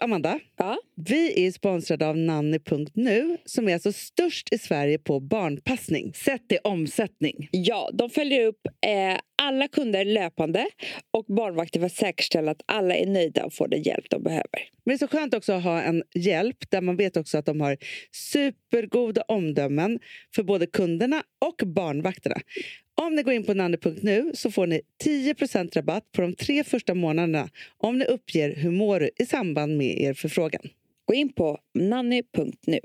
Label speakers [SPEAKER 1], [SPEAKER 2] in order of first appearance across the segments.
[SPEAKER 1] Amanda,
[SPEAKER 2] Ja.
[SPEAKER 1] vi är sponsrade av nanny.nu som är alltså störst i Sverige på barnpassning sett i omsättning.
[SPEAKER 2] Ja, de följer upp eh, alla kunder löpande och barnvakter för att säkerställa att alla är nöjda och får den hjälp de behöver.
[SPEAKER 1] Men det är så skönt också att ha en hjälp där man vet också att de har supergoda omdömen för både kunderna och barnvakterna. Om ni går in på nanny.nu så får ni 10 rabatt på de tre första månaderna om ni uppger hur mår du i samband med er förfrågan.
[SPEAKER 2] Gå in på nanny.nu.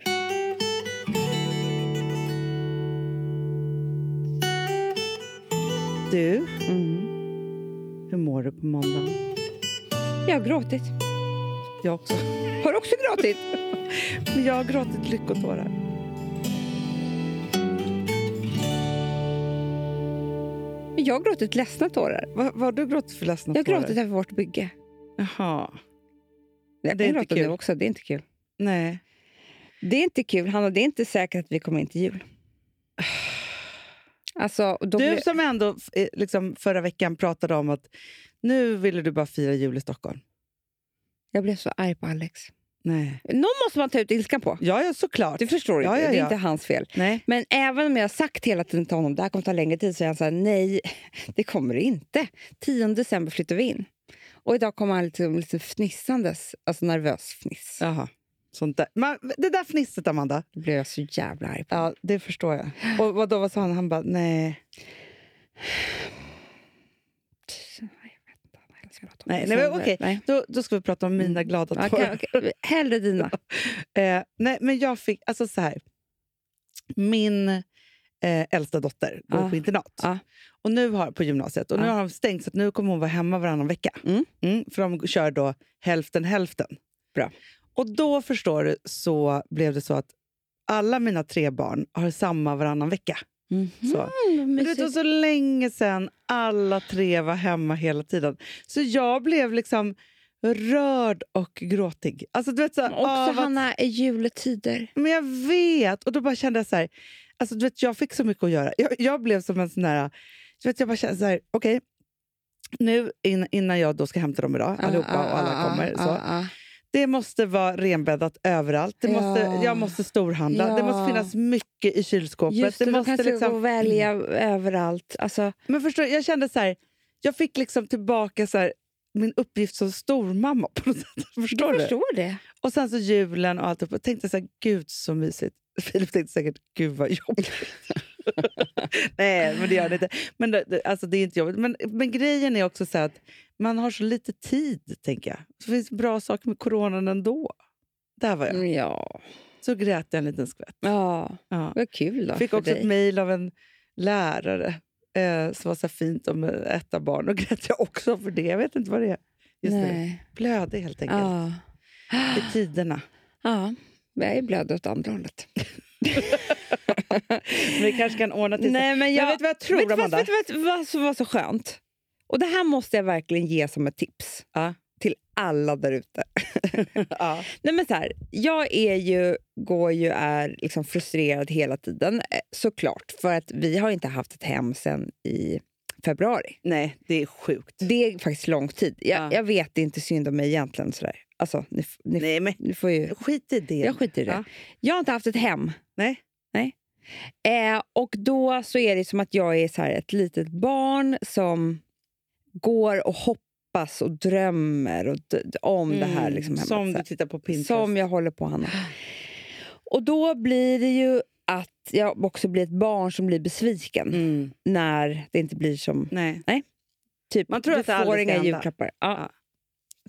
[SPEAKER 1] Du,
[SPEAKER 2] Mm.
[SPEAKER 1] hur mår du på måndagen?
[SPEAKER 2] Jag har gråtit.
[SPEAKER 1] Jag också.
[SPEAKER 2] Har du också gråtit?
[SPEAKER 1] Men jag har gråtit lyckotårar.
[SPEAKER 2] Men Jag har gråtit ledsna tårar.
[SPEAKER 1] Vad, vad har du gråtit för ledsna
[SPEAKER 2] Jag har gråtit över vårt bygge.
[SPEAKER 1] Jaha.
[SPEAKER 2] Jag
[SPEAKER 1] Det är
[SPEAKER 2] kan
[SPEAKER 1] inte
[SPEAKER 2] gråta nu
[SPEAKER 1] kul.
[SPEAKER 2] också. Det är inte kul.
[SPEAKER 1] Nej.
[SPEAKER 2] Det är inte kul, Hanna. Det är inte säkert att vi kommer in till jul. Alltså, då
[SPEAKER 1] Du
[SPEAKER 2] blir...
[SPEAKER 1] som ändå f- eh, liksom förra veckan pratade om att nu ville du bara fira jul i Stockholm.
[SPEAKER 2] Jag blev så arg på Alex.
[SPEAKER 1] Nej.
[SPEAKER 2] Någon måste man ta ut ilskan på.
[SPEAKER 1] Ja, ja såklart.
[SPEAKER 2] Du förstår
[SPEAKER 1] Ja,
[SPEAKER 2] inte.
[SPEAKER 1] ja,
[SPEAKER 2] Det är
[SPEAKER 1] ja.
[SPEAKER 2] inte hans fel.
[SPEAKER 1] Nej.
[SPEAKER 2] Men även om jag har sagt hela tiden till honom det här kommer ta längre tid så är han så här, nej, det kommer det inte. 10 december flyttar vi in. Och idag kommer han liksom, lite fnissandes, alltså nervös fniss.
[SPEAKER 1] Jaha. Sånt där. Man, det där fnisset, Amanda.
[SPEAKER 2] Då blev jag så jävla arg på honom.
[SPEAKER 1] Ja, det förstår jag. Och vad då vad sa han? Han bara, nej.
[SPEAKER 2] Nej, jag vet inte, han älskar att
[SPEAKER 1] Nej, nej, men
[SPEAKER 2] Sen-
[SPEAKER 1] okej.
[SPEAKER 2] nej.
[SPEAKER 1] Då, då ska vi prata om mina
[SPEAKER 2] Mm.
[SPEAKER 1] glada tårar.
[SPEAKER 2] Okej, okej. Hellre dina.
[SPEAKER 1] Eh, nej, men jag fick, alltså så här. Min eh, äldsta dotter går
[SPEAKER 2] Ah.
[SPEAKER 1] på internat
[SPEAKER 2] Ah.
[SPEAKER 1] och nu har, på gymnasiet och nu
[SPEAKER 2] Ah.
[SPEAKER 1] har de stängt så att nu kommer hon vara hemma varannan vecka.
[SPEAKER 2] Mm.
[SPEAKER 1] för de kör då hälften hälften.
[SPEAKER 2] Bra.
[SPEAKER 1] Och då förstår du så blev det så att alla mina tre barn har samma varannan vecka.
[SPEAKER 2] Mhm,
[SPEAKER 1] Så.
[SPEAKER 2] vad
[SPEAKER 1] Men det var
[SPEAKER 2] mysigt.
[SPEAKER 1] så länge sedan alla tre var hemma hela tiden. Så jag blev liksom rörd och gråtig. Alltså, du vet, så, här,
[SPEAKER 2] Också
[SPEAKER 1] "Ah, vad
[SPEAKER 2] Hanna, i juletider.
[SPEAKER 1] men jag vet! Och då bara kände jag så här, alltså du vet, jag fick så mycket att göra. Jag, jag blev som en sån här, du vet, jag bara kände så här, okej, nu in, innan jag då ska hämta dem idag, allihopa
[SPEAKER 2] Ah, ah,
[SPEAKER 1] och alla
[SPEAKER 2] ah,
[SPEAKER 1] kommer.
[SPEAKER 2] ah,
[SPEAKER 1] så.
[SPEAKER 2] ah.
[SPEAKER 1] Det måste vara renbäddat överallt. Det måste,
[SPEAKER 2] Ja.
[SPEAKER 1] Jag måste storhandla. Det måste
[SPEAKER 2] Ja.
[SPEAKER 1] finnas mycket i kylskåpet.
[SPEAKER 2] Just det,
[SPEAKER 1] det
[SPEAKER 2] då
[SPEAKER 1] måste
[SPEAKER 2] kan jag gå
[SPEAKER 1] liksom,
[SPEAKER 2] och välja överallt. Alltså,
[SPEAKER 1] men förstår du, jag kände så här, jag fick liksom tillbaka så här, min uppgift som stormamma på något sätt. Förstår
[SPEAKER 2] jag
[SPEAKER 1] du?
[SPEAKER 2] förstår det.
[SPEAKER 1] Och sen så julen och allt. Och tänkte så här, gud så mysigt. Filip tänkte säkert, gud vad jobbigt. Nej, men det gör det inte. Men det, det- alltså, det är inte jobbigt. Men, men grejen är också så här att man har så lite tid, tänker jag. Så finns det bra saker med coronan ändå. Där var jag.
[SPEAKER 2] Mm. Ja.
[SPEAKER 1] Så grät jag en liten skvätt.
[SPEAKER 2] ja,
[SPEAKER 1] Ja.
[SPEAKER 2] vad kul då
[SPEAKER 1] Fick
[SPEAKER 2] för
[SPEAKER 1] också ett
[SPEAKER 2] dig.
[SPEAKER 1] mejl av en lärare eh, som var så här fint om eh, ett av barn. Och grät jag också för det. Jag vet inte vad det är. Just nu.
[SPEAKER 2] Nej.
[SPEAKER 1] Blödig helt enkelt.
[SPEAKER 2] Ja.
[SPEAKER 1] I tiderna.
[SPEAKER 2] ja, jag är blöd åt andra hållet.
[SPEAKER 1] Men vi kanske kan ordna till
[SPEAKER 2] Nej, men jag
[SPEAKER 1] men vet du vad jag tror,
[SPEAKER 2] vet, du vad,
[SPEAKER 1] Amanda?
[SPEAKER 2] vet, du vad- vet, du vad som var så skönt? Och det här måste jag verkligen ge som ett tips
[SPEAKER 1] Ja.
[SPEAKER 2] till alla där ute.
[SPEAKER 1] Ja.
[SPEAKER 2] Nej, men så här, jag är ju, går ju är liksom frustrerad hela tiden, eh, såklart. För att vi har inte haft ett hem sen i februari.
[SPEAKER 1] Nej, det är sjukt.
[SPEAKER 2] Det är faktiskt lång tid. Jag,
[SPEAKER 1] Ja.
[SPEAKER 2] jag vet det är inte synd om mig egentligen. Sådär. Alltså, ni, f- ni, f-
[SPEAKER 1] Nej, men
[SPEAKER 2] ni får ju...
[SPEAKER 1] skit i det.
[SPEAKER 2] Jag skiter i det.
[SPEAKER 1] Ja.
[SPEAKER 2] Jag har inte haft ett hem.
[SPEAKER 1] Nej.
[SPEAKER 2] Nej. Eh, och då så är det som att jag är så här ett litet barn som går och hoppas och drömmer och d- d- om det här
[SPEAKER 1] Mm,
[SPEAKER 2] liksom hemmet.
[SPEAKER 1] som
[SPEAKER 2] så
[SPEAKER 1] du
[SPEAKER 2] här.
[SPEAKER 1] tittar på Pinterest.
[SPEAKER 2] som jag håller på Hanna. Och då blir det ju att jag också blir ett barn som blir besviken
[SPEAKER 1] Mm.
[SPEAKER 2] när det inte blir som
[SPEAKER 1] Nej.
[SPEAKER 2] Typ,
[SPEAKER 1] Man tror
[SPEAKER 2] du
[SPEAKER 1] att det
[SPEAKER 2] får
[SPEAKER 1] aldrig ska
[SPEAKER 2] inga
[SPEAKER 1] hända.
[SPEAKER 2] julklappar. Ja.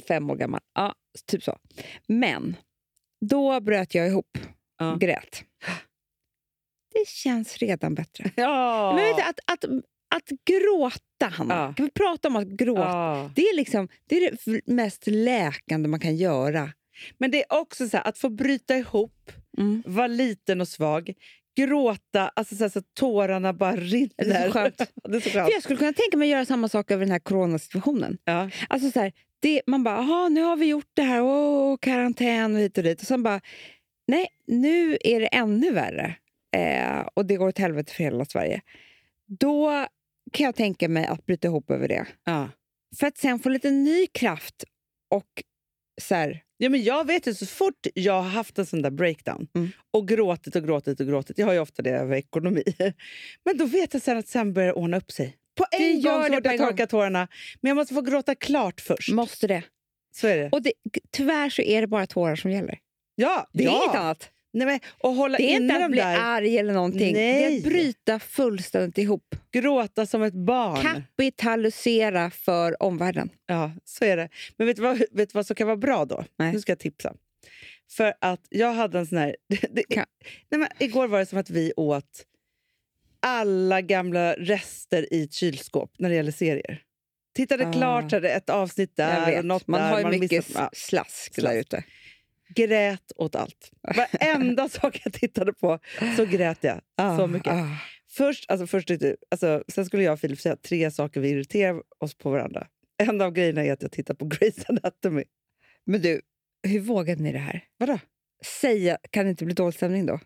[SPEAKER 2] Fem år gammal. Ja, typ så. Men då bröt jag ihop.
[SPEAKER 1] Ja.
[SPEAKER 2] Grät. Det känns redan bättre.
[SPEAKER 1] Ja.
[SPEAKER 2] Men vet du, att, att, att gråta, Hanna.
[SPEAKER 1] Ja.
[SPEAKER 2] Kan vi prata om att gråta?
[SPEAKER 1] Ja.
[SPEAKER 2] Det, är liksom, det är det mest läkande man kan göra.
[SPEAKER 1] Men det är också så här, att få bryta ihop, vara liten och svag, gråta alltså så, här, så att tårarna bara rinner.
[SPEAKER 2] Det är så skönt.
[SPEAKER 1] det är så
[SPEAKER 2] För
[SPEAKER 1] skönt.
[SPEAKER 2] jag skulle kunna tänka mig att göra samma sak över den här coronasituationen.
[SPEAKER 1] Ja.
[SPEAKER 2] Alltså så här, det, man bara, aha, nu har vi gjort det här, åh, karantän och hit och dit. Och sen bara, nej, nu är det ännu värre. Eh, och det går åt helvete för hela Sverige. Då kan jag tänka mig att bryta ihop över det.
[SPEAKER 1] Ja.
[SPEAKER 2] För att sen få lite ny kraft och så här,
[SPEAKER 1] Ja, men jag vet ju, så fort jag har haft en sån där breakdown
[SPEAKER 2] Mm.
[SPEAKER 1] och gråtit och gråtit och gråtit, jag har ju ofta det över ekonomi, men då vet jag sen att sen börjar det ordna upp sig. På en
[SPEAKER 2] Det
[SPEAKER 1] gång
[SPEAKER 2] gör
[SPEAKER 1] så
[SPEAKER 2] det
[SPEAKER 1] fort
[SPEAKER 2] på
[SPEAKER 1] jag
[SPEAKER 2] en gång.
[SPEAKER 1] torkar tårarna, men jag måste få gråta klart först.
[SPEAKER 2] måste det.
[SPEAKER 1] så är det.
[SPEAKER 2] Och det, tyvärr så är det bara tårar som gäller.
[SPEAKER 1] ja,
[SPEAKER 2] Det är
[SPEAKER 1] ja.
[SPEAKER 2] inget annat.
[SPEAKER 1] Nej, men, och hålla
[SPEAKER 2] Det är
[SPEAKER 1] inne
[SPEAKER 2] inte att
[SPEAKER 1] dem
[SPEAKER 2] bli
[SPEAKER 1] där,
[SPEAKER 2] arg eller någonting. Det är
[SPEAKER 1] Nej.
[SPEAKER 2] att bryta fullständigt ihop.
[SPEAKER 1] gråta som ett barn.
[SPEAKER 2] Kapitalisera för omvärlden.
[SPEAKER 1] Ja, så är det. Men vet du vad, vet du vad som kan vara bra då?
[SPEAKER 2] Nej.
[SPEAKER 1] Nu ska jag tipsa. För att jag hade en sån här... Det, det,
[SPEAKER 2] Kan-
[SPEAKER 1] nej men, igår var det som att vi åt alla gamla rester i ett kylskåp när det gäller serier. Tittade
[SPEAKER 2] Ah.
[SPEAKER 1] klart, hade ett avsnitt
[SPEAKER 2] jag
[SPEAKER 1] där och
[SPEAKER 2] vet.
[SPEAKER 1] något
[SPEAKER 2] man
[SPEAKER 1] där.
[SPEAKER 2] har ju mycket
[SPEAKER 1] missat- ja,
[SPEAKER 2] s- slask, där
[SPEAKER 1] Slask.
[SPEAKER 2] ute.
[SPEAKER 1] grät åt allt. Varenda sak jag tittade på så grät jag.
[SPEAKER 2] Ah,
[SPEAKER 1] så mycket.
[SPEAKER 2] ah.
[SPEAKER 1] Först, alltså, först tyckte- alltså, sen skulle jag och Filip säga tre saker vi irriterar oss på varandra. En av grejerna är att jag tittar på Grey's Anatomy.
[SPEAKER 2] Men du, hur vågade ni det här?
[SPEAKER 1] Vadå?
[SPEAKER 2] Säga, kan det inte bli dålig stämning då?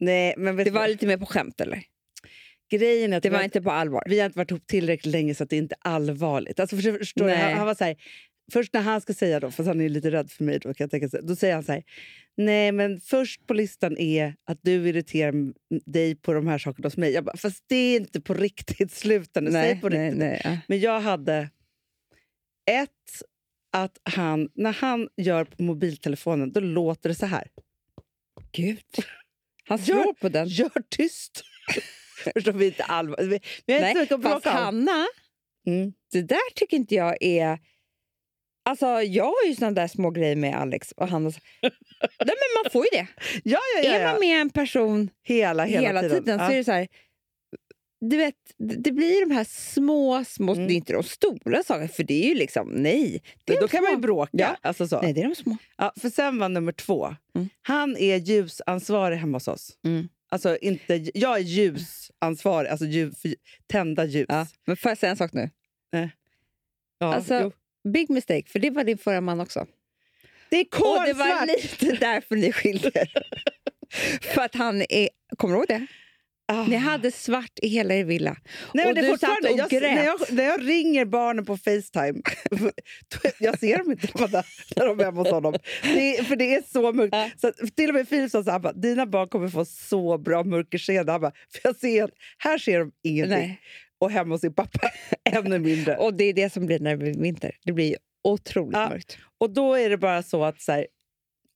[SPEAKER 1] Nej, men vet
[SPEAKER 2] Det
[SPEAKER 1] du vad?
[SPEAKER 2] var lite mer på skämt eller?
[SPEAKER 1] Grejen är att
[SPEAKER 2] Det
[SPEAKER 1] vi
[SPEAKER 2] var
[SPEAKER 1] har-
[SPEAKER 2] inte på allvar.
[SPEAKER 1] vi har inte varit ihop tillräckligt länge så att det är inte allvarligt. Alltså, förstår- förstår du?
[SPEAKER 2] Nej.
[SPEAKER 1] Han, han var så här, först när han ska säga då, för han är ju lite rädd för mig, då, kan jag tänka, så- då säger han så här. Nej, men först på listan är att du irriterar m- dig på de här sakerna hos mig. Jag bara, fast det är inte på riktigt. Sluta nu, säg på
[SPEAKER 2] nej,
[SPEAKER 1] riktigt.
[SPEAKER 2] nej, ja.
[SPEAKER 1] Men jag hade ett, att han, när han gör på mobiltelefonen, då låter det så här.
[SPEAKER 2] Gud. Han
[SPEAKER 1] Gör-
[SPEAKER 2] slår på den.
[SPEAKER 1] Gör tyst! Förstår vi inte allvar. Vi, vi har inte så mycket att
[SPEAKER 2] fast
[SPEAKER 1] bråka om.
[SPEAKER 2] Hanna,
[SPEAKER 1] Mm.
[SPEAKER 2] det där tycker inte jag är... Alltså, jag har ju såna där små grejer med Alex och Hanna. nej, men man får ju det.
[SPEAKER 1] Ja, ja, ja.
[SPEAKER 2] Är
[SPEAKER 1] ja.
[SPEAKER 2] man med en person
[SPEAKER 1] Hela, hela,
[SPEAKER 2] hela tiden, så är
[SPEAKER 1] Ja.
[SPEAKER 2] det så här... Du vet, det det blir de här små, små...
[SPEAKER 1] Mm.
[SPEAKER 2] Det är inte de stora sakerna, för det är ju liksom... Nej. Det är
[SPEAKER 1] Men då
[SPEAKER 2] de
[SPEAKER 1] kan man ju
[SPEAKER 2] små.
[SPEAKER 1] bråka.
[SPEAKER 2] Ja.
[SPEAKER 1] Alltså så.
[SPEAKER 2] Nej, det är de små.
[SPEAKER 1] Ja, för sen var nummer två.
[SPEAKER 2] Mm.
[SPEAKER 1] Han är ljusansvarig hemma hos oss.
[SPEAKER 2] Mm.
[SPEAKER 1] Alltså inte, jag är ljusansvarig, alltså ljus, för- tända ljus.
[SPEAKER 2] Ja. Men får jag säga en sak nu?
[SPEAKER 1] Ja,
[SPEAKER 2] Alltså,
[SPEAKER 1] jo.
[SPEAKER 2] Big mistake, för det var din förra man också.
[SPEAKER 1] det är
[SPEAKER 2] Och det var
[SPEAKER 1] kolsvart!
[SPEAKER 2] lite därför ni skilde er. För att han är... Kommer du ihåg det?
[SPEAKER 1] Ah.
[SPEAKER 2] Ni hade svart i hela er villa.
[SPEAKER 1] Nej,
[SPEAKER 2] och
[SPEAKER 1] men det är
[SPEAKER 2] du
[SPEAKER 1] fortfarande,
[SPEAKER 2] satt och
[SPEAKER 1] jag,
[SPEAKER 2] grät.
[SPEAKER 1] När jag, när jag ringer barnen på Facetime, då- jag ser dem inte Amanda, när de är hemma hos honom. Det är, för det är så mörkt.
[SPEAKER 2] Ja.
[SPEAKER 1] Så, att- till och med Filip sa så här, han bara, dina barn kommer få så bra mörkerseende. Han bara, för jag ser, här ser de ingenting.
[SPEAKER 2] Nej.
[SPEAKER 1] Och hemma hos sin pappa ännu mindre. Och,
[SPEAKER 2] Och det är det som blir när det blir vinter. Det blir ju otroligt
[SPEAKER 1] Ja,
[SPEAKER 2] mörkt.
[SPEAKER 1] då är det bara så att... Så här,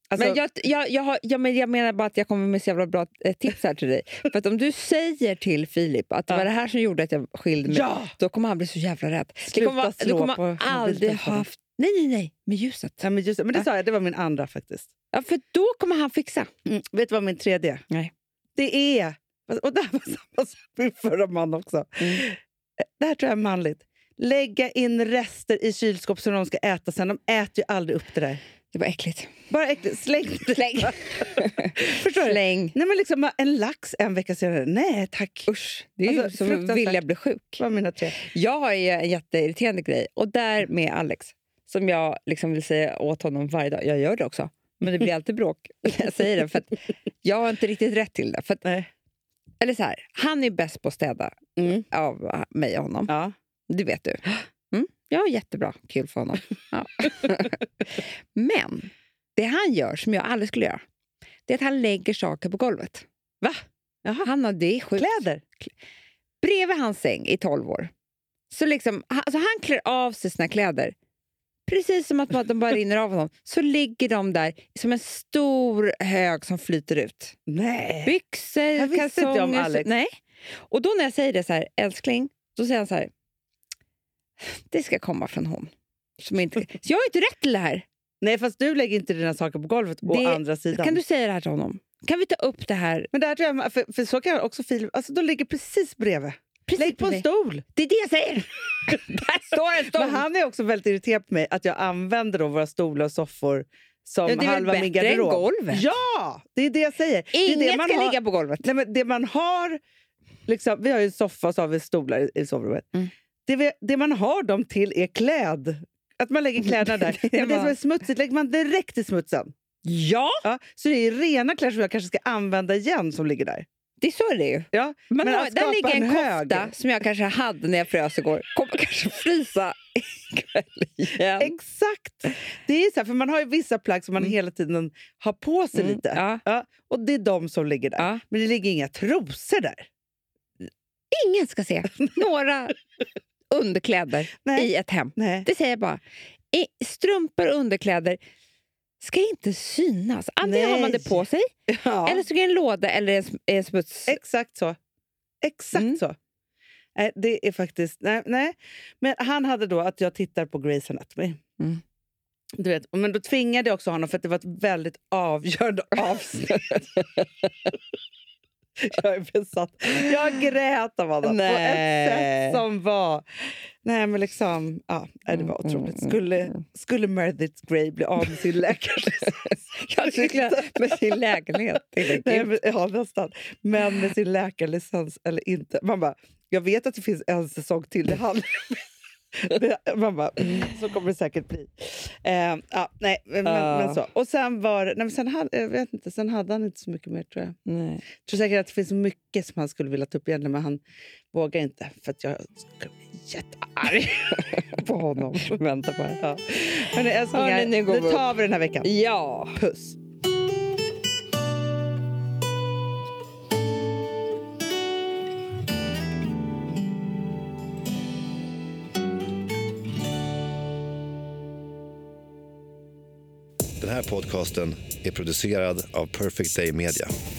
[SPEAKER 1] alltså,
[SPEAKER 2] men jag, jag, jag, har, ja, men jag menar bara att jag kommer med så jävla bra eh, tips här till dig. För att om du säger till Filip att det
[SPEAKER 1] Ja.
[SPEAKER 2] var det här som gjorde att jag skilde mig,
[SPEAKER 1] ja!
[SPEAKER 2] då kommer han bli så jävla rädd. Det
[SPEAKER 1] Sluta
[SPEAKER 2] kommer, vara- du
[SPEAKER 1] slå
[SPEAKER 2] kommer
[SPEAKER 1] på
[SPEAKER 2] aldrig ha
[SPEAKER 1] mobiltelefonen.
[SPEAKER 2] haft... Nej, nej, nej, med ljuset.
[SPEAKER 1] Ja, men, just, det. men det
[SPEAKER 2] Ja.
[SPEAKER 1] sa jag, det var min andra faktiskt.
[SPEAKER 2] Ja, för då kommer han fixa.
[SPEAKER 1] Mm. Vet du vad min tredje är?
[SPEAKER 2] Nej.
[SPEAKER 1] Det är... Och det här var samma som min förra man också.
[SPEAKER 2] Mm.
[SPEAKER 1] Det här tror jag är manligt. Lägga in rester i kylskåp som de ska äta sen. De äter ju aldrig upp det där.
[SPEAKER 2] Det var äckligt.
[SPEAKER 1] Bara äckligt. Släng det.
[SPEAKER 2] Släng.
[SPEAKER 1] Förstår du?
[SPEAKER 2] Släng.
[SPEAKER 1] Nej, men liksom en lax en vecka senare. Nej tack.
[SPEAKER 2] Usch, det är ju
[SPEAKER 1] Alltså,
[SPEAKER 2] som att
[SPEAKER 1] fruktansvärt.
[SPEAKER 2] vilja bli sjuk.
[SPEAKER 1] Det var mina tre.
[SPEAKER 2] Jag har ju en jätteirriterande grej, och där med Alex, som jag liksom vill säga åt honom varje dag. Jag gör det också, men det blir alltid bråk när jag säger det. För att jag har inte riktigt rätt till det. För att,
[SPEAKER 1] Nej.
[SPEAKER 2] eller så här, han är bäst på att städa
[SPEAKER 1] Mm.
[SPEAKER 2] av mig och honom.
[SPEAKER 1] Ja.
[SPEAKER 2] Det vet du. Mm, ja, jättebra. Kul för honom. Ja. men det han gör, som jag aldrig skulle göra, det är att han lägger saker på golvet.
[SPEAKER 1] Va? Jaha.
[SPEAKER 2] Han har, det är sjukt
[SPEAKER 1] Kläder?
[SPEAKER 2] bredvid hans säng i 12 år. Så liksom, han, alltså han klär av sig sina kläder. Precis som att bara- de bara rinner av honom. Så ligger de där som en stor hög som flyter ut.
[SPEAKER 1] Nej.
[SPEAKER 2] Byxor,
[SPEAKER 1] visste inte jag om
[SPEAKER 2] kalsonger...
[SPEAKER 1] Alex.
[SPEAKER 2] så- Nej. Och då när jag säger det så här, älskling, då säger han så här. Det ska komma från hon. Som inte, så jag har inte rätt till det här.
[SPEAKER 1] Nej, fast du lägger inte dina saker på golvet å
[SPEAKER 2] Det-
[SPEAKER 1] andra sidan.
[SPEAKER 2] Kan du säga det här till honom? Kan vi ta upp det här?
[SPEAKER 1] Men det här tror jag, för, för så kan jag också Filip... Alltså, de ligger precis bredvid.
[SPEAKER 2] Precis
[SPEAKER 1] Lägg på en
[SPEAKER 2] bredvid.
[SPEAKER 1] stol!
[SPEAKER 2] Det är det jag säger! där står en stol!
[SPEAKER 1] Men han är också väldigt irriterad på mig att jag använder då våra stolar och soffor som
[SPEAKER 2] Ja, det är väl
[SPEAKER 1] halva min
[SPEAKER 2] bättre än
[SPEAKER 1] garderob.
[SPEAKER 2] golvet?
[SPEAKER 1] Ja! Det är det jag säger. det är
[SPEAKER 2] Inget
[SPEAKER 1] det man
[SPEAKER 2] ska
[SPEAKER 1] har-
[SPEAKER 2] ligga på golvet.
[SPEAKER 1] Nej, men det man har... Liksom, vi har ju en soffa och så har vi stolar i- i sovrummet.
[SPEAKER 2] Mm.
[SPEAKER 1] Det, vi, det man har dem till är kläd. Att man lägger kläderna där.
[SPEAKER 2] Det är
[SPEAKER 1] Men det som
[SPEAKER 2] bara-
[SPEAKER 1] är smutsigt lägger man direkt i smutsen.
[SPEAKER 2] Ja!
[SPEAKER 1] Ja, så det är rena kläder som jag kanske ska använda igen som ligger där.
[SPEAKER 2] Det är så det är ju.
[SPEAKER 1] Ja,
[SPEAKER 2] Man
[SPEAKER 1] men
[SPEAKER 2] har,
[SPEAKER 1] att
[SPEAKER 2] där
[SPEAKER 1] skapa
[SPEAKER 2] ligger en
[SPEAKER 1] en hög.
[SPEAKER 2] kofta som jag kanske hade när jag frös igår. Kommer kanske frysa ikväll igen.
[SPEAKER 1] Exakt! Det är så här, för man har ju vissa plagg som man
[SPEAKER 2] Mm.
[SPEAKER 1] hela tiden har på sig
[SPEAKER 2] Mm,
[SPEAKER 1] lite.
[SPEAKER 2] ja.
[SPEAKER 1] och det är de som ligger där.
[SPEAKER 2] Ja.
[SPEAKER 1] Men det ligger inga trosor där.
[SPEAKER 2] Ingen ska se några underkläder
[SPEAKER 1] Nej.
[SPEAKER 2] i ett hem.
[SPEAKER 1] Nej.
[SPEAKER 2] Det säger jag bara. I- Strumpor och underkläder ska inte synas. Antingen har man det
[SPEAKER 1] Nej.
[SPEAKER 2] på sig,
[SPEAKER 1] Ja.
[SPEAKER 2] eller så är det en låda eller en, sm- en smuts...
[SPEAKER 1] Exakt så. Exakt
[SPEAKER 2] Mm.
[SPEAKER 1] så. Nej, det är faktiskt... Nej, nej. Men han hade då att jag tittar på Grey's Anatomy.
[SPEAKER 2] Mm.
[SPEAKER 1] Du vet, men då tvingade jag också honom för att det var ett väldigt avgörande avsnitt. jag är besatt. Jag grät av honom på ett
[SPEAKER 2] Nej.
[SPEAKER 1] sätt som var... Nej, men liksom... Ja, nej, det var
[SPEAKER 2] Mm,
[SPEAKER 1] otroligt. Skulle, skulle Meredith Grey bli av med sin läkarlicens?
[SPEAKER 2] Kanske skulle- med sin lägenhet.
[SPEAKER 1] Nej, men, ja, nästan. Men med sin läkarlicens eller inte. Man bara, jag vet att det finns en säsong till i hand. Man bara, mm, så kommer det säkert bli. Eh, ja, nej, men,
[SPEAKER 2] Ja.
[SPEAKER 1] men, men så. Och sen var det- nej, men sen, hade, jag vet inte, sen hade han inte så mycket mer tror jag.
[SPEAKER 2] Nej.
[SPEAKER 1] Jag tror säkert att det finns mycket som han skulle vilja ta upp igen men han vågar inte för att jag skulle bli jättearg på honom. Vänta bara. Ja. Hörni älsklingar,
[SPEAKER 2] Hörni, nu går vi
[SPEAKER 1] nu tar vi den här veckan.
[SPEAKER 2] Ja.
[SPEAKER 1] Puss!
[SPEAKER 3] Den här podcasten är producerad av Perfect Day Media.